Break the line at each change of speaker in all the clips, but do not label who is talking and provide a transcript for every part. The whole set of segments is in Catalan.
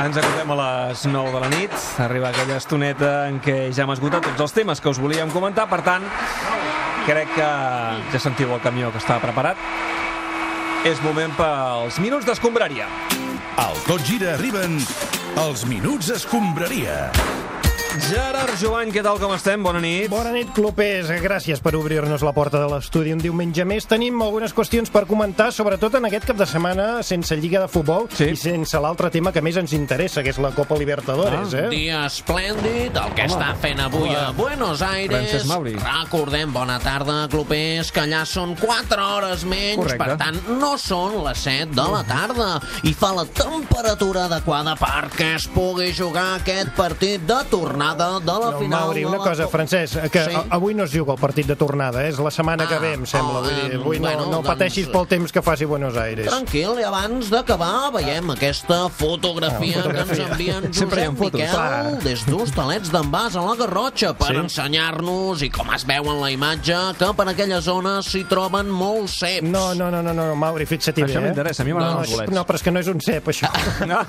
Ens acordem a les 9 de la nit. Arriba aquella estoneta en què ja hem esgotat tots els temes que us volíem comentar. Per tant, crec que ja sentiu el camió que està preparat. És moment pels minuts d'escombraria.
Al Tot Gira arriben els Minuts Escombraria.
Gerard Joan, què tal com estem? Bona nit.
Bona nit, clubers. Gràcies per obrir-nos la porta de l'estudi un diumenge més. Tenim algunes qüestions per comentar, sobretot en aquest cap de setmana sense Lliga de Futbol
Sí.
i sense l'altre tema que més ens interessa, que és la Copa Libertadores.
Ah,
Un
eh?
dia esplèndid, el que està fent avui a Buenos Aires.
Francesc Mauri.
Recordem, bona tarda, clubers, que allà són 4 hores menys,
Correcte.
per tant, no són les 7 de la tarda. I fa la temperatura adequada perquè es pugui jugar aquest partit de tornada de la
No,
final.
Mauri,
de
una
la
cosa,
Copa.
Francesc, que
Sí.
sí. avui no es juga el partit de tornada, eh? és la setmana ah, que
Ah,
ve, em sembla.
oh,
Vull dir,
em,
avui no,
bueno,
no
doncs-
pateixis pel temps que faci Buenos Aires.
Tranquil, i abans d'acabar veiem aquesta fotografia,
Ah, fotografia.
que ens envien
Sempre hi ha
Josep
fotos. Ah.
Miquel
Clar.
des d'Hostalets d'en Bas a la Garrotxa per
Sí.
ensenyar-nos, i com es veu en la imatge, que per aquella zona s'hi troben molts ceps.
No, no, no, no, no, no Mauri, fixa-t'hi bé. eh?
Això m'interessa, a mi m'agraden
no,
els bolets.
No, però és que no és un cep, això.
No.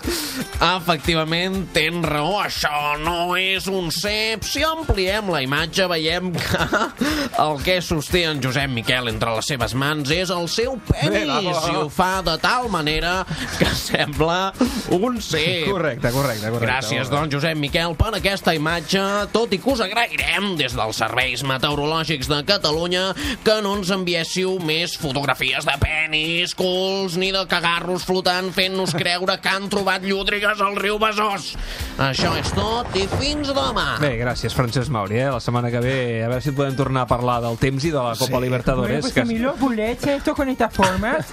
Efectivament, tens raó, això no és un cep. Si ampliem la imatge, veiem que el que sosté en Josep Miquel entre les seves mans és el seu
Bé, va, va,
penis,
va.
i ho fa de tal manera que sembla un cep.
Correcte, correcte, correcte.
Gràcies,
Molt
doncs, Josep Miquel, per aquesta imatge, tot i que us agrairem des dels serveis meteorològics de Catalunya que no ens enviéssiu més fotografies de penis, culs, ni de cagarros flotant fent-nos creure que han trobat llúdrigues al riu Besòs. Això és tot i fins demà.
Bé, gràcies, Francesc Mauri. Eh? La setmana que ve, a veure si podem tornar a parlar del temps i de la Copa
Sí.
Libertadores.
Bueno, pues
que-
a mí los bullets estos con estas formas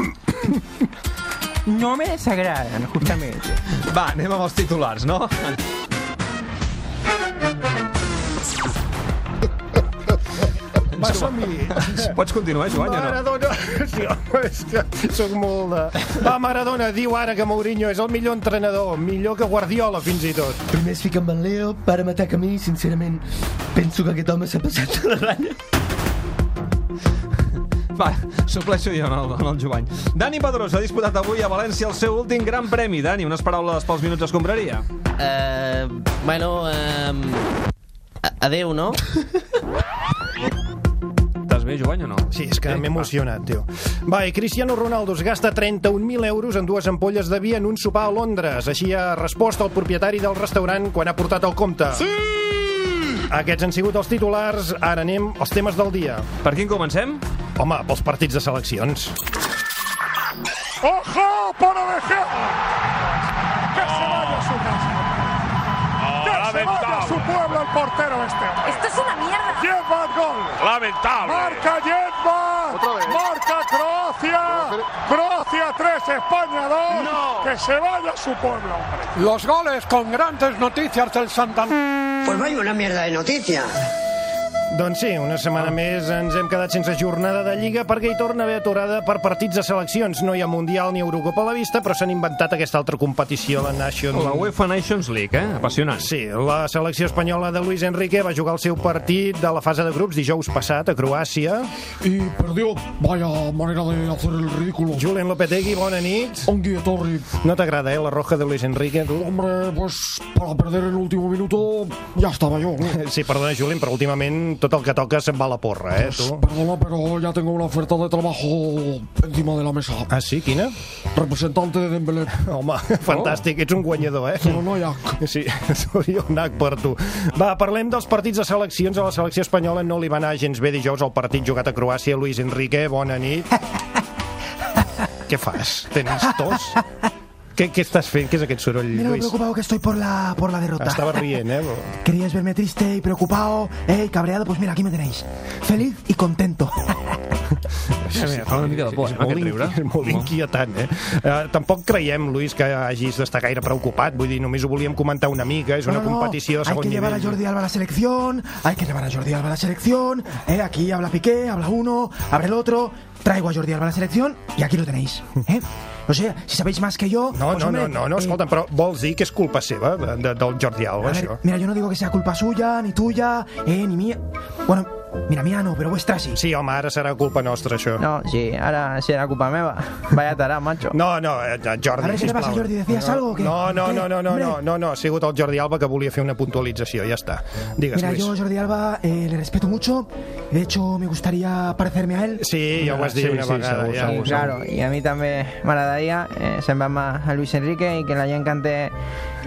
no me desagradan, justamente.
Va, anem amb els titulars, no?
Va, som-hi.
Pots continuar, Joan, o no?
Maradona, sí, home, és que soc molt de... Va, Maradona, diu ara que Mourinho és el millor entrenador, millor que Guardiola, fins i tot.
Primer es fica amb en Leo, para m'ataca a mi, sincerament, penso que aquest home s'ha passat de la ratlla.
Va, supleixo jo en el, en el Joan. Dani Pedrosa ha disputat avui a València el seu últim gran premi. Dani, unes paraules pels minuts d'escombraria.
Eh, bueno, eh, adeu, no?
Estàs bé, Joan, o no?
Sí, és que m'he emocionat, tio. Va, i Cristiano Ronaldo es gasta 31.000 euros en dues ampolles de vi en un sopar a Londres. Així ha respost el propietari del restaurant quan ha portat el compte. Sí! Aquests han sigut els titulars, ara anem als temes del dia.
Per quin comencem?
Home, pels partits de seleccions.
Esto es una mierda.
Marca Yedman, marca Croacia, Croacia 3, España 2, que se vaya su pueblo. Los goles con grandes noticias del Santander.
Pues vaya una mierda de noticia.
Doncs sí, una setmana més ens hem quedat sense jornada de Lliga perquè hi torna a haver aturada per partits de seleccions. No hi ha Mundial ni Eurocopa a la vista, però s'han inventat aquesta altra competició, la Nations
La UEFA Nations League, eh? Apassionant.
Sí, la selecció espanyola de Luis Enrique va jugar el seu partit de la fase de grups dijous passat a Croàcia.
Y perdió. Vaya manera de hacer el ridículo.
Julen Lopetegui, bona nit.
Un guía Torri.
No t'agrada, eh, la roja de Luis Enrique, tu?
Hombre, pues para perder el último minuto ya estaba yo. ¿no?
Sí, perdona, Julen, però últimament tot el que toca se'n va a la porra, eh, tu?
Perdona, pero ya tengo una oferta de trabajo encima de la mesa.
Ah, sí? Quina?
Representante de Dembélé.
Home, fantàstic, ets un guanyador, eh?
Pero no ya.
Sí, seria un nac per tu. Va, parlem dels partits de seleccions. A la selecció espanyola no li va anar gens bé dijous el partit jugat a Croàcia. Luis Enrique, bona nit. Què fas? Tens tos? Què, què estàs fent? Què és aquest soroll,
Mira lo
Luis?
preocupado que estoy por la, por la derrota.
Estava rient, eh? però-
Queríais verme triste y preocupado, eh, y cabreado, pues mira, aquí me tenéis. Feliz y contento.
Fa una mica de
Pues,
por,
és
eh, no,
molt,
aquest riure.
inqui- és molt inquietant, eh? Uh, tampoc creiem, Luis, que hagis d'estar gaire preocupat. Vull dir, només ho volíem comentar una mica. És una
No, no,
competició de
hay
segon
que llevar a
nivell.
Jordi Alba a la selección, hay que llevar a Jordi Alba a la selección, eh, aquí habla Piqué, habla uno, habla el otro, traigo a Jordi Alba a la selección y aquí lo tenéis, eh. O sea, si sabéis más que yo...
No,
pues,
no,
hombre,
no, no, no,
eh,
escolta'm, però vols dir que és culpa seva, de, de, del Jordi Alba,
A ver,
això?
mira, yo no digo que sea culpa suya, ni tuya, eh, ni mía. Bueno, Mira, mira, no, però ho és traci.
Sí, home, ara serà culpa nostra, això.
No, sí, ara serà culpa meva. Vaya tarà, macho.
No, no, eh, Jordi,
A veure, què li
sisplau.
passa, Jordi? Decies
no,
algo o què?
No, no, no, no, no,
Hombre.
no, no, no, ha sigut el Jordi Alba que volia fer una puntualització, ja està. Digues,
Mira,
Luis.
yo Jordi Alba eh, le respeto mucho. De hecho, me gustaría parecerme a él.
Sí, ja ho has dit una vegada. ja.
Sí, claro, y a mí también m'agradaria eh, semblar más a Luis Enrique y que la gente cante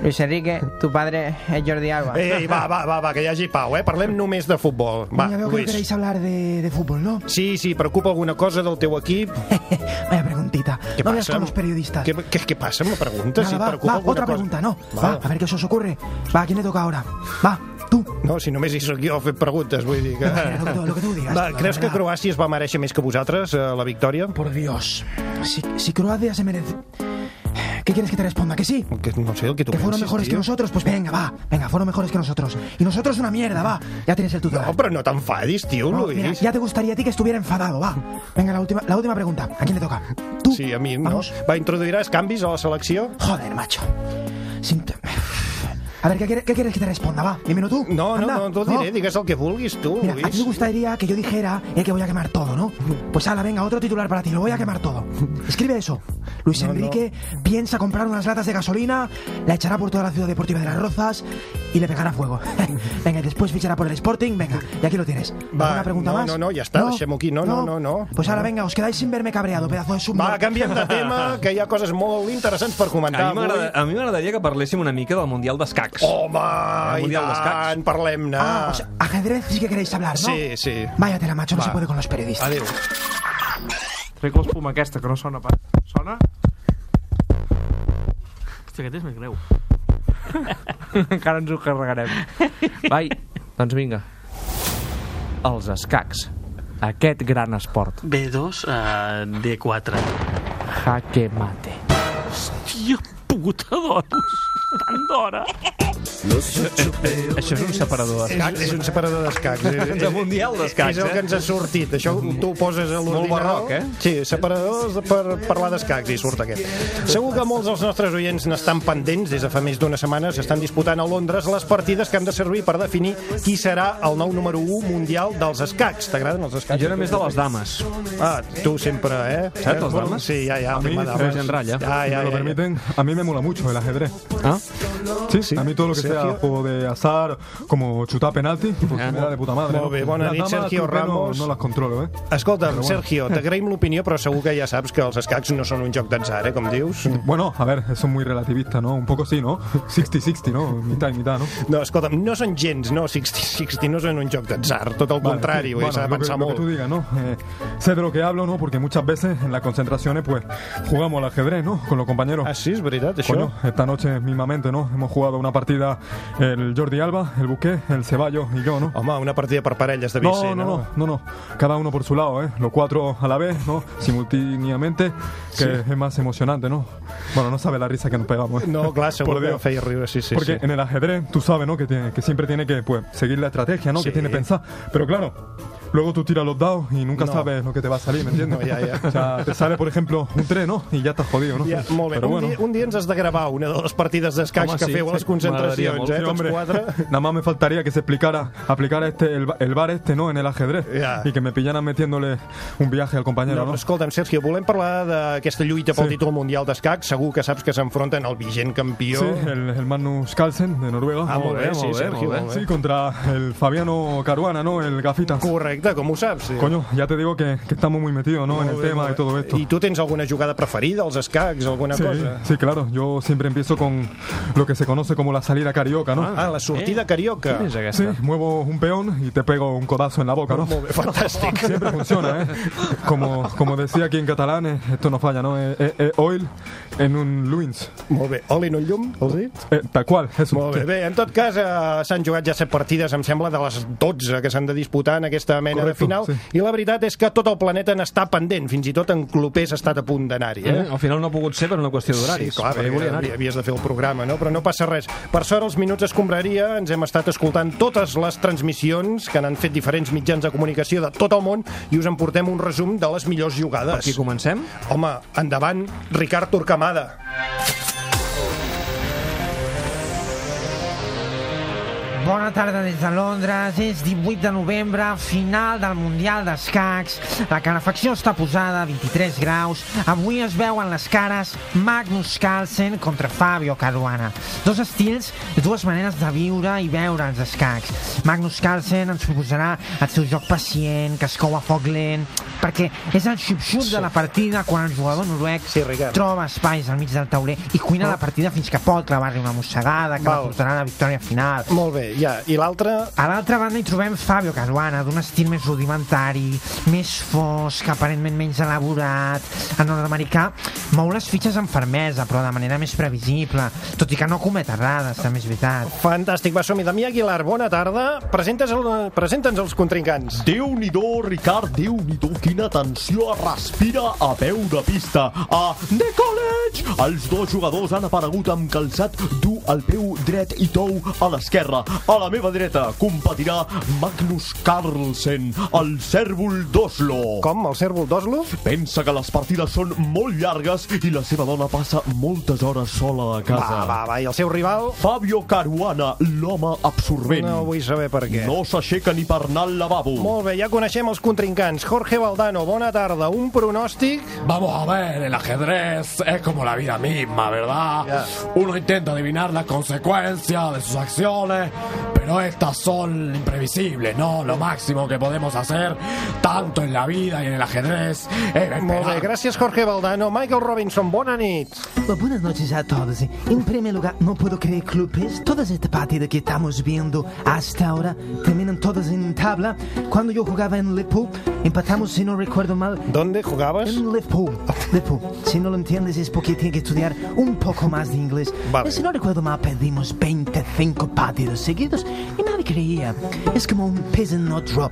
Luis Enrique, tu padre es Jordi Alba.
Ei, va, va, va, va, que hi hagi pau, eh? Parlem només de futbol. Va,
ya veo que no
Luis.
queréis hablar de, de fútbol, ¿no?
Sí, sí, preocupa alguna cosa del teu equip?
Vaya preguntita.
Què
no veas
passa?
con los periodistas.
Què, què, què passa amb la pregunta?
Nada,
si
va,
preocupa
va,
alguna
otra
cosa.
pregunta, no.
Va.
Va, a ver qué se os ocurre. Va, ¿a quién le toca ahora? Va, tú.
No, si només hi sóc jo fent preguntes, vull dir que...
Lo que tú, lo que tú digas.
Va, creus que Croàcia es va mereixer més que vosaltres, eh, la victòria?
Por Dios. Si, si Croacia se merece... ¿Qué quieres que te responda? ¿Que sí?
Que, no sé, el que tu
¿Que fueron
pensis,
mejores
tio.
que nosotros? Pues venga, va. Venga, fueron mejores que nosotros. Y nosotros una mierda, va. Ya tienes el tutor.
No, Oh, però no t'enfadis, tio,
No,
Luis.
Ah, mira, ya te gustaría a ti que estuviera enfadado, va. Venga, la última, la última pregunta. ¿A quién le toca?
Sí, a mi, no? Va, introduiràs canvis a la selecció?
Joder, macho. Sin- A ver, ¿qué, quiere- qué quieres que te responda? Va, dímelo tú.
No, no,
Anda,
no, no diré, digues el que vulguis, tu,
Mira, a ti te
Luis.
gustaría que yo dijera eh, que voy a quemar todo, ¿no? Pues ala, venga, otro titular para ti, lo voy a quemar todo. Escribe eso. Luis
No, no.
Enrique piensa comprar unas latas de gasolina, la echará por toda la ciudad deportiva de Las Rozas y le pegará fuego. venga, y después fichará por el Sporting, venga, y aquí lo tienes.
Va,
¿Alguna pregunta
no,
más?
no, no, ya está, deixem-ho aquí. No, no, no, no.
Pues ahora, venga, os quedáis sin verme cabreado, pedazo de sumba.
Va, canviem de tema, que hi ha coses molt interessants per
A
comentar
mi m'agrada- a mi m'agradaria que parléssim una mica del Mundial d'Escacs.
Home,
El
i
Mundial d'Escacs.
tant, parlem-ne.
Ah, o sea, ajedrez sí que queréis hablar, ¿no?
Sí, sí.
Váyatela, macho, no
Va.
se puede con los periodistas.
Adéu.
Trec l'espuma aquesta, que no sona pas. Sona? Hòstia, aquest és més greu. Encara ens ho carregarem. Vai, doncs vinga. Els escacs. Aquest gran esport.
B2 a D4.
Jaque mate.
Hòstia puta d'hores. Tant d'hora.
Això és un separador
Escacs, és un separador d'escacs. És-
De mundial d'escacs,
És el
eh?
que ens ha sortit. Això tu ho poses a l'ordinador.
barroc, eh?
Sí, separadors per parlar d'escacs i surt aquest. Segur que molts dels nostres oients n'estan pendents des de fa més d'una setmana. S'estan disputant a Londres les partides que han de servir per definir qui serà el nou número 1 mundial dels escacs. T'agraden els escacs?
Jo era més de les dames.
Ah, tu sempre, eh?
Saps, les dames?
Sí, ja, ja.
A
el
mí,
tema dames.
si
Ja,
me
ja,
lo
ja, ja.
permiten, a mí me mola mucho el ajedrez.
¿Ah?
Sí, sí. A mí todo lo que
Sergio.
sea juego de azar, como chutar penalti, pues me da de puta madre.
Molt
¿no?
bé, bona
Las
nit,
damas,
Sergio
tú que no-
Ramos.
No, las controlo, ¿eh?
Escolta'm,
Però bueno.
Sergio, t'agraïm l'opinió, però segur que ja saps que els escacs no són un joc d'atzar, eh, com dius?
Bueno, a ver, eso es muy relativista, ¿no? Un poco sí, ¿no? 60-60, ¿no? Mitad y mitad, ¿no?
No, escolta'm, no són gens, no, 60-60 no són un joc d'atzar, tot el
Vale,
contrari,
sí,
ho he
bueno,
de
lo que- lo
pensar
que
molt.
tú digas, ¿no? Eh, sé de lo que hablo, ¿no? Porque muchas veces en las concentraciones, pues, jugamos al ajedrez, ¿no? Con los compañeros.
Así es verdad, eso.
Coño, esta noche mismamente, ¿no? Hemos jugado una partida el Jordi Alba, el Buqué, el Ceballos y yo, ¿no?
Home, una partida per parelles de eh? bici,
no, no, no, no, no. cada uno por su lado, ¿eh? los cuatro a la vez, ¿no? simultáneamente, que
Sí.
es más emocionante, ¿no? Bueno, no sabe la risa que nos pegamos. ¿eh?
No, clar, segur
Por
que
Dios.
feia riure, sí, sí.
Porque
sí.
en el ajedrez tú sabes, ¿no? Que, tiene- que siempre tiene que pues, seguir la estrategia, ¿no?
Sí.
Que tiene pensar. Pero claro, luego tú tiras los dados y nunca
No.
sabes lo que te va a salir, ¿me entiendes?
No, ya, ya.
O sea, te sale, por ejemplo, un 3, ¿no? Y ya estás jodido, ¿no?
Ja, molt bé,
Pero
un,
bueno.
dia, un dia ens has de gravar una de les partides d'escacs
Home,
que feu a les concentracions,
m'agradaria
eh,
molt.
tots quatre.
Nada más me faltaría que se explicara, aplicara este, el, ba- el bar este, ¿no? En el ajedrez.
Ah?
Ya.
Y que me pillaran metiéndole un viaje al compañero,
No,
¿no?
però escolta'm, Sergio, volem parlar d'aquesta lluita pel
Sí.
títol mundial d'escacs. Segur que saps que s'enfronten al vigent campió.
Sí, el, el Magnus Carlsen de Noruega.
Ah, molt bé, sí, Sergio, molt bé.
Sí, contra el Fabiano Caruana, ¿no? El gafitas.
Correcte, com ho saps? Sí.
Coño, ya te digo que, que estamos muy metidos, ¿no?
Molt
en el
bé,
tema
molt
y todo
bé.
esto.
I tu tens alguna jugada preferida als escacs, alguna
Sí,
cosa?
sí, claro, yo siempre empiezo con lo que se conoce como la salida carioca, ¿no?
Ah, la sortida carioca. Quina és
Sí,
aquesta?
muevo un peón y te pego un codazo en la boca, ¿no?
Molt bé, fantàstic.
Siempre funciona, ¿eh? Como, como decía aquí en catalán, eh, esto no falla, ¿no? Eh, eh, eh, oil en un Luins.
Molt bé, oli en un llum, vols dir?
Eh, tal qual, Jesús.
Molt bé, bé, en tot cas eh, s'han jugat ja set partides, em sembla, de les 12 que s'han de disputar en aquesta mena
Correcte,
de final,
sí.
i la veritat és que tot el planeta n'està pendent, fins i tot en Clopés ha estat a punt d'anar-hi, eh?
Eh? Al final no ha pogut ser per una qüestió
Sí,
d'horaris.
clar,
perquè volia
perquè
anar-hi.
havies de fer el programa, no? Però no passa res. Per sort, els Minuts Escombraria ens hem estat escoltant totes les transmissions que n'han fet diferents mitjans de comunicació de tot el món i us en portem un resum de les millors jugades.
Per aquí comencem?
Home, endavant, Ricard Torquemada.
Bona tarda des de Londres. És 18 de novembre, final del Mundial d'Escacs. La calefacció està posada a 23 graus. Avui es veuen les cares Magnus Carlsen contra Fabio Caruana. Dos estils, dues maneres de viure i veure els escacs. Magnus Carlsen ens proposarà el seu joc pacient, que es cou a foc lent, perquè és el xup-xup de la partida quan el jugador noruec sí, troba espais al mig del tauler i cuina la partida fins que pot clavar-li una mossegada que
Val.
la portarà a la victòria final.
Molt bé, ja. I l'altre?
A l'altra banda hi trobem Fabio Caruana, d'un estil més rudimentari, més fosc, aparentment menys elaborat. El nord-americà mou les fitxes amb fermesa, però de manera més previsible, tot i que no comet errades, també és veritat.
Fantàstic, va som-hi. Damià Aguilar, bona tarda. Presentes el, presenta'ns els contrincants.
Déu-n'hi-do, Ricard, Déu-n'hi-do, quina tensió es respira a peu de pista. A The College, els dos jugadors han aparegut amb calçat dur al peu dret i tou a l'esquerra. A la meva dreta competirà Magnus Carlsen, el cèrvol d'Oslo.
Com, el cèrvol d'Oslo?
Pensa que les partides són molt llargues i la seva dona passa moltes hores sola a casa.
Va, va, va. I el seu rival?
Fabio Caruana, l'home absorbent.
No vull saber per què.
No s'aixeca ni per anar al lavabo.
Molt bé, ja coneixem els contrincants. Jorge Valdano, bona tarda. Un pronòstic?
Vamos a ver, el ajedrez es como la vida misma, ¿verdad? Uno intenta adivinar las consecuencias de sus acciones, pero estas son imprevisibles, ¿no? Lo máximo que podemos hacer, tanto en la vida y en el ajedrez, es
Molt bé,
esperar.
gràcies Jorge Valdano. Michael Robinson, bona nit.
Buenas noches a todos. En primer lugar, no puedo creer, clubes. Todas estas partidas que estamos viendo hasta ahora terminan todas en tabla. Cuando yo jugaba en Liverpool, empatamos, si no recuerdo mal.
¿Dónde jugabas?
En Liverpool. Liverpool. Si no lo entiendes es porque tienes que estudiar un poco más de inglés.
Vale.
Si no recuerdo mal, perdimos 25 partidos seguidos y nadie creía. Es como un pez en no drop.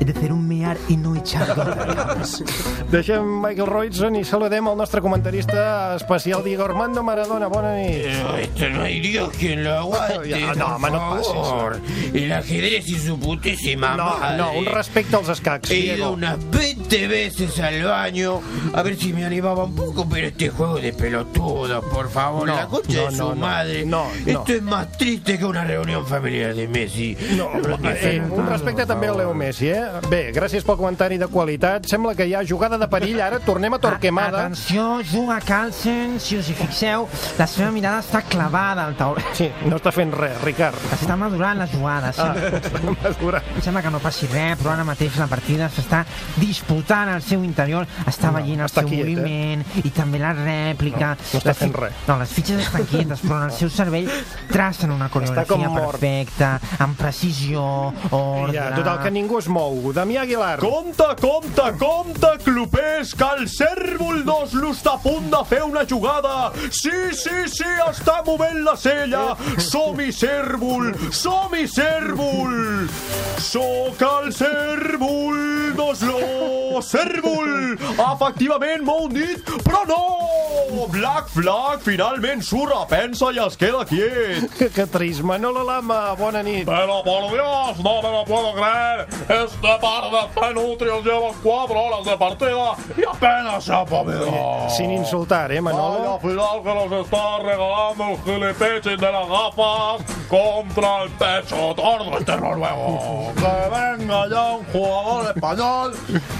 Es decir, un mear y no echar gotas.
Deixem Michael Robinson i saludem el nostre comentarista especial Diego Armando Maradona. Bona nit.
Eh,
Esto no hay Dios quien lo aguante.
Ja, no,
por
home, no et passis.
favor. El ajedrez y su putísima
No,
eh,
madre.
no, un respecte als escacs,
He
Diego.
ido unas 20 veces al baño a ver si me animaba un poco, pero este juego de pelotudos, por favor,
No,
la concha de
no,
su
no, no.
madre.
No, no.
Esto es más triste que una reunión familiar de Messi.
No, eh, un respecte també a Leo Messi, eh? Bé, gràcies pel comentari de qualitat. Sembla que hi ha jugada de perill. Ara
Ah,
tornem a Torquemada.
Atenció, juga Carlsen, si us hi fixeu, la seva mirada està clavada al taul.
Sí, no està fent res, Ricard.
Està madurant la jugada.
Ah,
sembla.
està madurant.
Sembla que no passi res, però ara mateix la partida s'està disputant al seu interior, està veient el
està
seu
quiet, eh?
moviment i també la rèplica.
No, no està
Les fi-
fent res.
No, les fitxes estan quietes, però en el seu cervell tracen una
com
coreografia
mort.
perfecta, amb precisió, ordre...
Ja, total, que ningú es mou. Damià Aguilar.
Compte, compte, compte, clubers, que el cèrvol d'Oslo està a punt de fer una jugada. Sí, sí, sí, està movent la cella. Som-hi, cèrvol, som-hi, cèrvol. Soc el cèrvol d'Oslo, cèrvol. Efectivament, m'ho han dit, però no. Black Flag finalment s'ho repensa i es queda quiet.
Que, que trist. Manolo Lama, bona nit.
Pero por Dios, no me lo puedo creer. Este par de fenutrios lleva cuatro horas de partida y apenas se ha
Oh.
podido.
Sin insultar, eh,
Y
Manolo?
al final que nos está regalando el gilipichis de las gafas contra el pecho tordo este noruego. Que venga ya un jugador español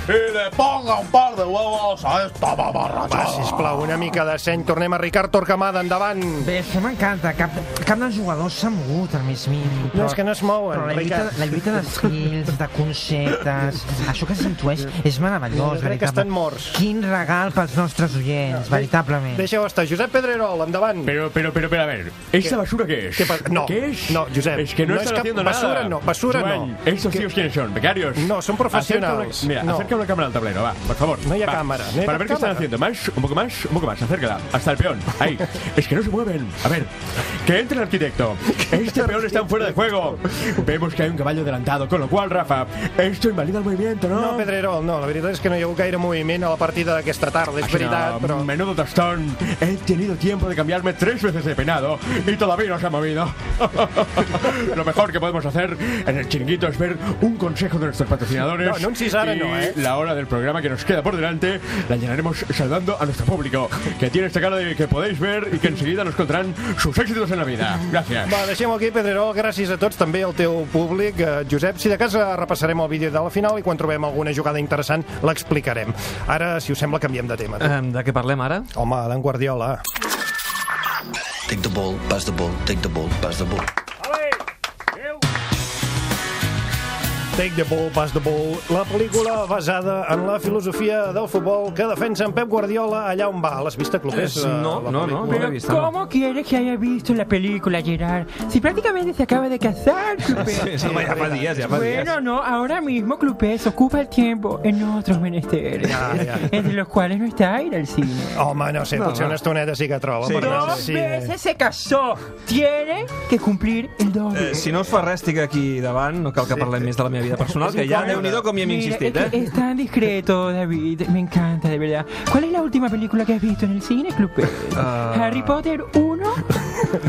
y le ponga un par de huevos a esta
Va,
mamarrachada.
sisplau, una mica de seny. Tornem a Ricard Torquemada, endavant.
Bé, això m'encanta. Cap, cap dels jugadors s'ha mogut al més mínim.
No, és que no es mouen,
Però la lluita,
Ricard.
la lluita d'estils, de conceptes... Això que s'intueix és meravellós,
Jo crec que estan morts.
Quin regal pels nostres oients, veritablement.
Deixa-ho estar. Josep Pedrerol, endavant.
Pero, pero, pero, pero, a ver, ¿esta
¿Qué?
basura qué es?
¿Qué pa- no,
¿Qué es?
no, Josep,
Es que no,
no
están
es que-
haciendo
basura
nada.
no, basura
Joan,
no.
¿Estos
Que-
tíos quiénes son? ¿Becarios?
No, son profesionales.
Acerca una- mira,
No.
acerca una cámara al tablero, va, por favor.
No hay
Va,
cámara, no hay
Para ver qué están
cámara.
haciendo. Más, un poco más, un poco más, acércala. Hasta el peón. Ahí. es que no se mueven. A ver, que entre el arquitecto. Este peón está en fuera de juego. Vemos que hay un caballo adelantado, con lo cual, Rafa, esto invalida el movimiento, ¿no?
No, Pedrerol, no. La veritat és que no hi ha hagut gaire moviment a la partida d'aquesta tarda, és
Así
veritat,
no,
però...
Menudo tostón. He tenido tiempo de cambiarme tres veces de peinado y todavía no se ha movido. Lo mejor que podemos hacer en el chiringuito es ver un consejo de nuestros patrocinadores.
No, no insís ahora,
y
no, ¿eh?
La hora del programa que nos queda por delante la llenaremos saludando a nuestro público, que tiene esta cara de que podéis ver y que enseguida nos contarán sus éxitos en la vida. Gracias.
Va, deixem aquí, Pedrerol. Senyor, gràcies a tots, també al teu públic. Eh, Josep, si de casa repassarem el vídeo de la final i quan trobem alguna jugada interessant l'explicarem. Ara, si us sembla, canviem de tema.
Eh, de què parlem ara?
Home, d'en Guardiola.
Take the ball, pass the ball, take the ball, pass the ball.
Take the ball, pass the ball. La pel·lícula basada en la filosofia del futbol que defensa en Pep Guardiola allà on va. L'has vist a Clopés?
Eh, no,
la
no, no,
pel·lícula?
no l'he vist,
¿Cómo quieres que haya visto la película, Gerard? Si prácticamente se acaba de casar, Clupés.
Sí, sí, ja fa dies, ja fa dies.
Bueno, no, ahora mismo Clupés ocupa el tiempo en otros menesteres,
Ya, ya.
entre los cuales no está ir al cine.
Home, no sé,
No,
potser
va.
una estoneta sí que troba.
Sí,
perquè
dos
sí.
veces se casó. Tiene que cumplir el doble.
Eh, si no us fa res, estic aquí davant, no cal que parlem més de la meva vida personal, que ja, déu nhi com hi hem
Mira,
insistit,
es que
eh?
Es tan discreto, David. Me encanta, de verdad. ¿Cuál es la última película que has visto en el cine, Clupés?
Ah.
¿Harry Potter 1?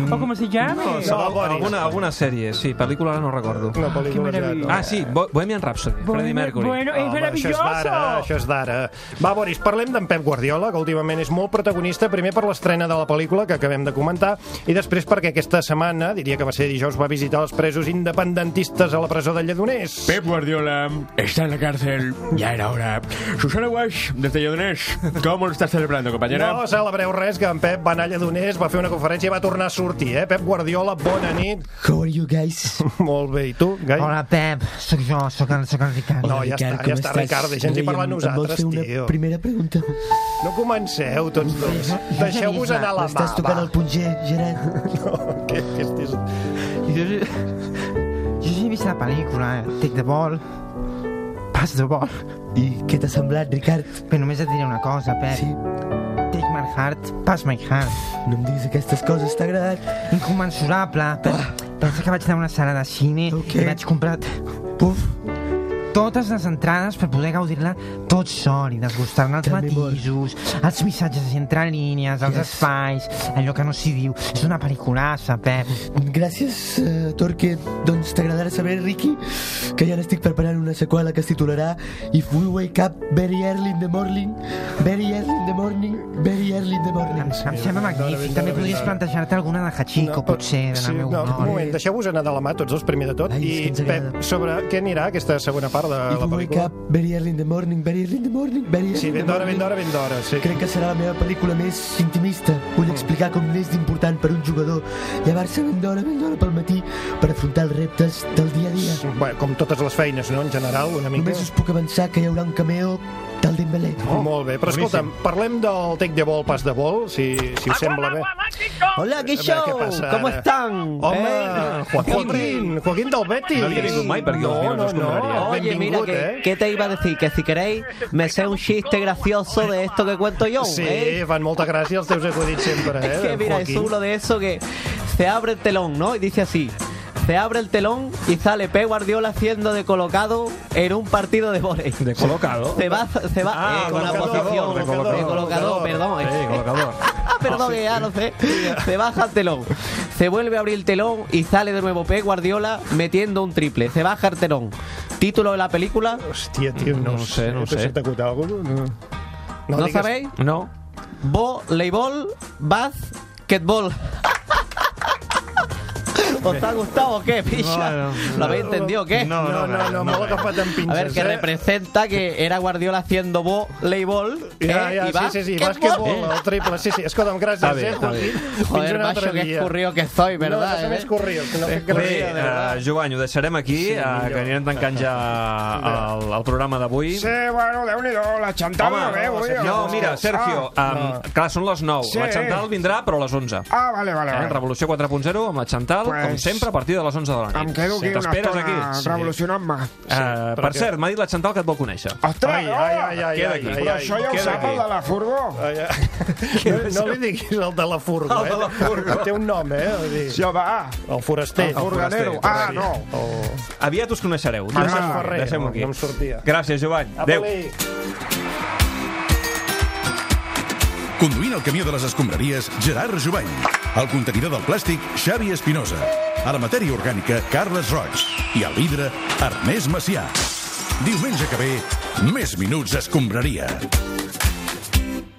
¿O cómo se llama?
No, alguna, alguna sèrie, sí, pel·lícula ara no recordo.
Una pel·lícula
ah,
ja no.
Ah, sí, Bo- Bohemian Rhapsody, Freddie Mercury.
Home, Això és d'ara, això és d'ara. Va, Boris, parlem d'en Pep Guardiola, que últimament és molt protagonista, primer per l'estrena de la pel·lícula que acabem de comentar, i després perquè aquesta setmana, diria que va ser dijous, va visitar els presos independentistes a la presó de Lledoners.
Pep Guardiola está en la cárcel. Ya era hora. Susana Wash, desde Lledoners. ¿Cómo lo estás celebrando, compañera?
No celebreu res, que en Pep va anar a Lledoners, va fer una conferència i va tornar a sortir, eh? Pep Guardiola, bona nit.
How are you guys?
Molt bé, i tu, Gai?
Hola, Pep. Sóc jo, sóc el, sóc el Ricard.
No, ja està, ja està, Ricard, deixa'ns-hi parlar nosaltres, tio.
primera pregunta?
No comenceu tots dos. Deixeu-vos anar la mà,
M'estàs tocant
va.
el punyer, Gerard.
No, què, què estàs...
Jo, jo ja he vist la pel·lícula, eh? Take the ball, pass the ball. I què t'ha semblat, Ricard? Bé, només et diré una cosa, Pep. Sí. Take my heart, pass my heart. No em diguis aquestes coses, t'ha agradat? Incomensurable. Pe- Pensa que vaig anar a una sala de cine i vaig comprar... Puf, totes les entrades per poder gaudir-la tot sol i desgustar-ne els matisos, els missatges entre línies, els espais, allò que no s'hi diu. És una pel·liculassa, Pep.
Gràcies, eh, Torque. Doncs t'agradarà saber, Ricky, que ja n'estic preparant una seqüela que es titularà If We Wake Up Very Early in the Morning, Very Early in the Morning, Very Early in the Morning. Em,
Em sembla magnífic. També podries plantejar-te alguna de Hachiko,
però-
potser, de
Sí,
la meu
no, un moment,
honor.
deixeu-vos anar de la mà tots dos, primer de tot. I, Pep, sobre què anirà aquesta segona part de
If
la
We Wake
pel·lícula?
Up Very Early in the Morning, Very Early in the Morning, Very Early
Sí,
in the
ben d'hora, ben
Morning.
d'hora, ben d'hora, sí.
Crec que serà la meva pel·lícula més intimista.
Mm.
Vull explicar com n'és d'important per un jugador llevar-se ben d'hora, ben d'hora pel matí per afrontar els reptes del dia a dia.
Bé, com totes les feines, no?, en general, una mica.
Només us puc avançar que hi haurà un cameo del Dembélé.
Oh, Molt bé, però escolta'm, parlem del tec de vol, pas de vol, si, si us sembla bé.
Hola,
què
Guixó,
com estan? Home, Joaquín, Joaquín del Betis.
No havia vingut mai per aquí,
No,
al final
no,
ens
no,
compraria. Oye,
benvingut,
mira, que,
eh?
que te iba a decir que si queréis me sé un chiste gracioso de esto que cuento yo.
Sí,
¿eh?
fan molta gràcia els teus acudits sempre, eh?
Es que mira, es
Joaquín.
uno de esos que se abre el telón, ¿no? Y dice así. Se abre el telón y sale P. Guardiola haciendo de colocado en un partido de volei. ¿De
colocado?
Se va, se va
Ah,
Ah,
eh, con la posición de colocador, perdón.
Sí, colocador.
Ah, perdón, que ya no sé. Se baja el telón. Se vuelve a abrir el telón y sale de nuevo P. Guardiola metiendo un triple. Se baja el telón. Título de la película.
Hòstia, tio, no, no sé, eh, no sé. S'ha tacut alguna cosa? No.
¿No,
digues-
sabéis?
No.
Voleibol, basketball. ¿Os ha gustado o qué, picha?
No, no,
¿Lo habéis
no.
entendido o qué?
No, no, No, no, no, no, no,
no. agafat en
A ver,
pinces,
que
eh?
representa que era Guardiola haciendo voleibol
Ja,
eh,
ja,
y
sí, sí, sí, bàsquetbol, el triple, sí, sí. Escolta'm,
Está
gràcies,
bien,
eh,
está
Joaquín.
bien.
Fins
Joder,
un altre
macho, qué
dia.
escurrido que soy,
No,
¿verdad?
no,
eh?
més corrió, que no fes
Bé,
gràcia.
eh, Giovanni, ho deixarem aquí, eh, que anirem tancant ja el, el programa d'avui.
Sí, bueno, déu-n'hi-do, la ¿eh? Chantal
Home,
no ve, avui. Ah,
no, mira, Sergio, um, clar, són les 9.
Sí.
La Chantal vindrà, però a les 11.
Ah, vale, vale,
Eh,
vale.
Revolució 4.0 amb la Chantal,
Pues-
com sempre, a partir de les 11 de la nit.
Em quedo aquí una
T'esperes
estona
aquí? Sí.
revolucionant-me.
Eh, per
perquè-
cert, m'ha dit la Chantal que et vol conèixer.
Ostres,
Ai, ai, ai, ai,
Queda
ai,
aquí.
ai,
Però
ai,
això ja ho
queda
sap
aquí.
el de la furgó.
Ai, ai. No, no li diguis el de la furgo, eh?
El de la furgo.
Té un nom, eh? Vull dir...
Sí, va.
El foraster.
El furganero.
El
Ah,
correcte. El...
Aviat us coneixereu.
Ah,
Deixem-
Ferrer, Doncs-
Deixem-ho aquí.
no em sortia.
Gràcies, Giovanni. Adéu.
Apa-li.
Conduint el camió de les escombraries, Gerard Jubany. El contenidor del plàstic, Xavi Espinosa. A la matèria orgànica, Carles Roig. I al vidre, Ernest Macià. Diumenge que ve, més minuts escombraria.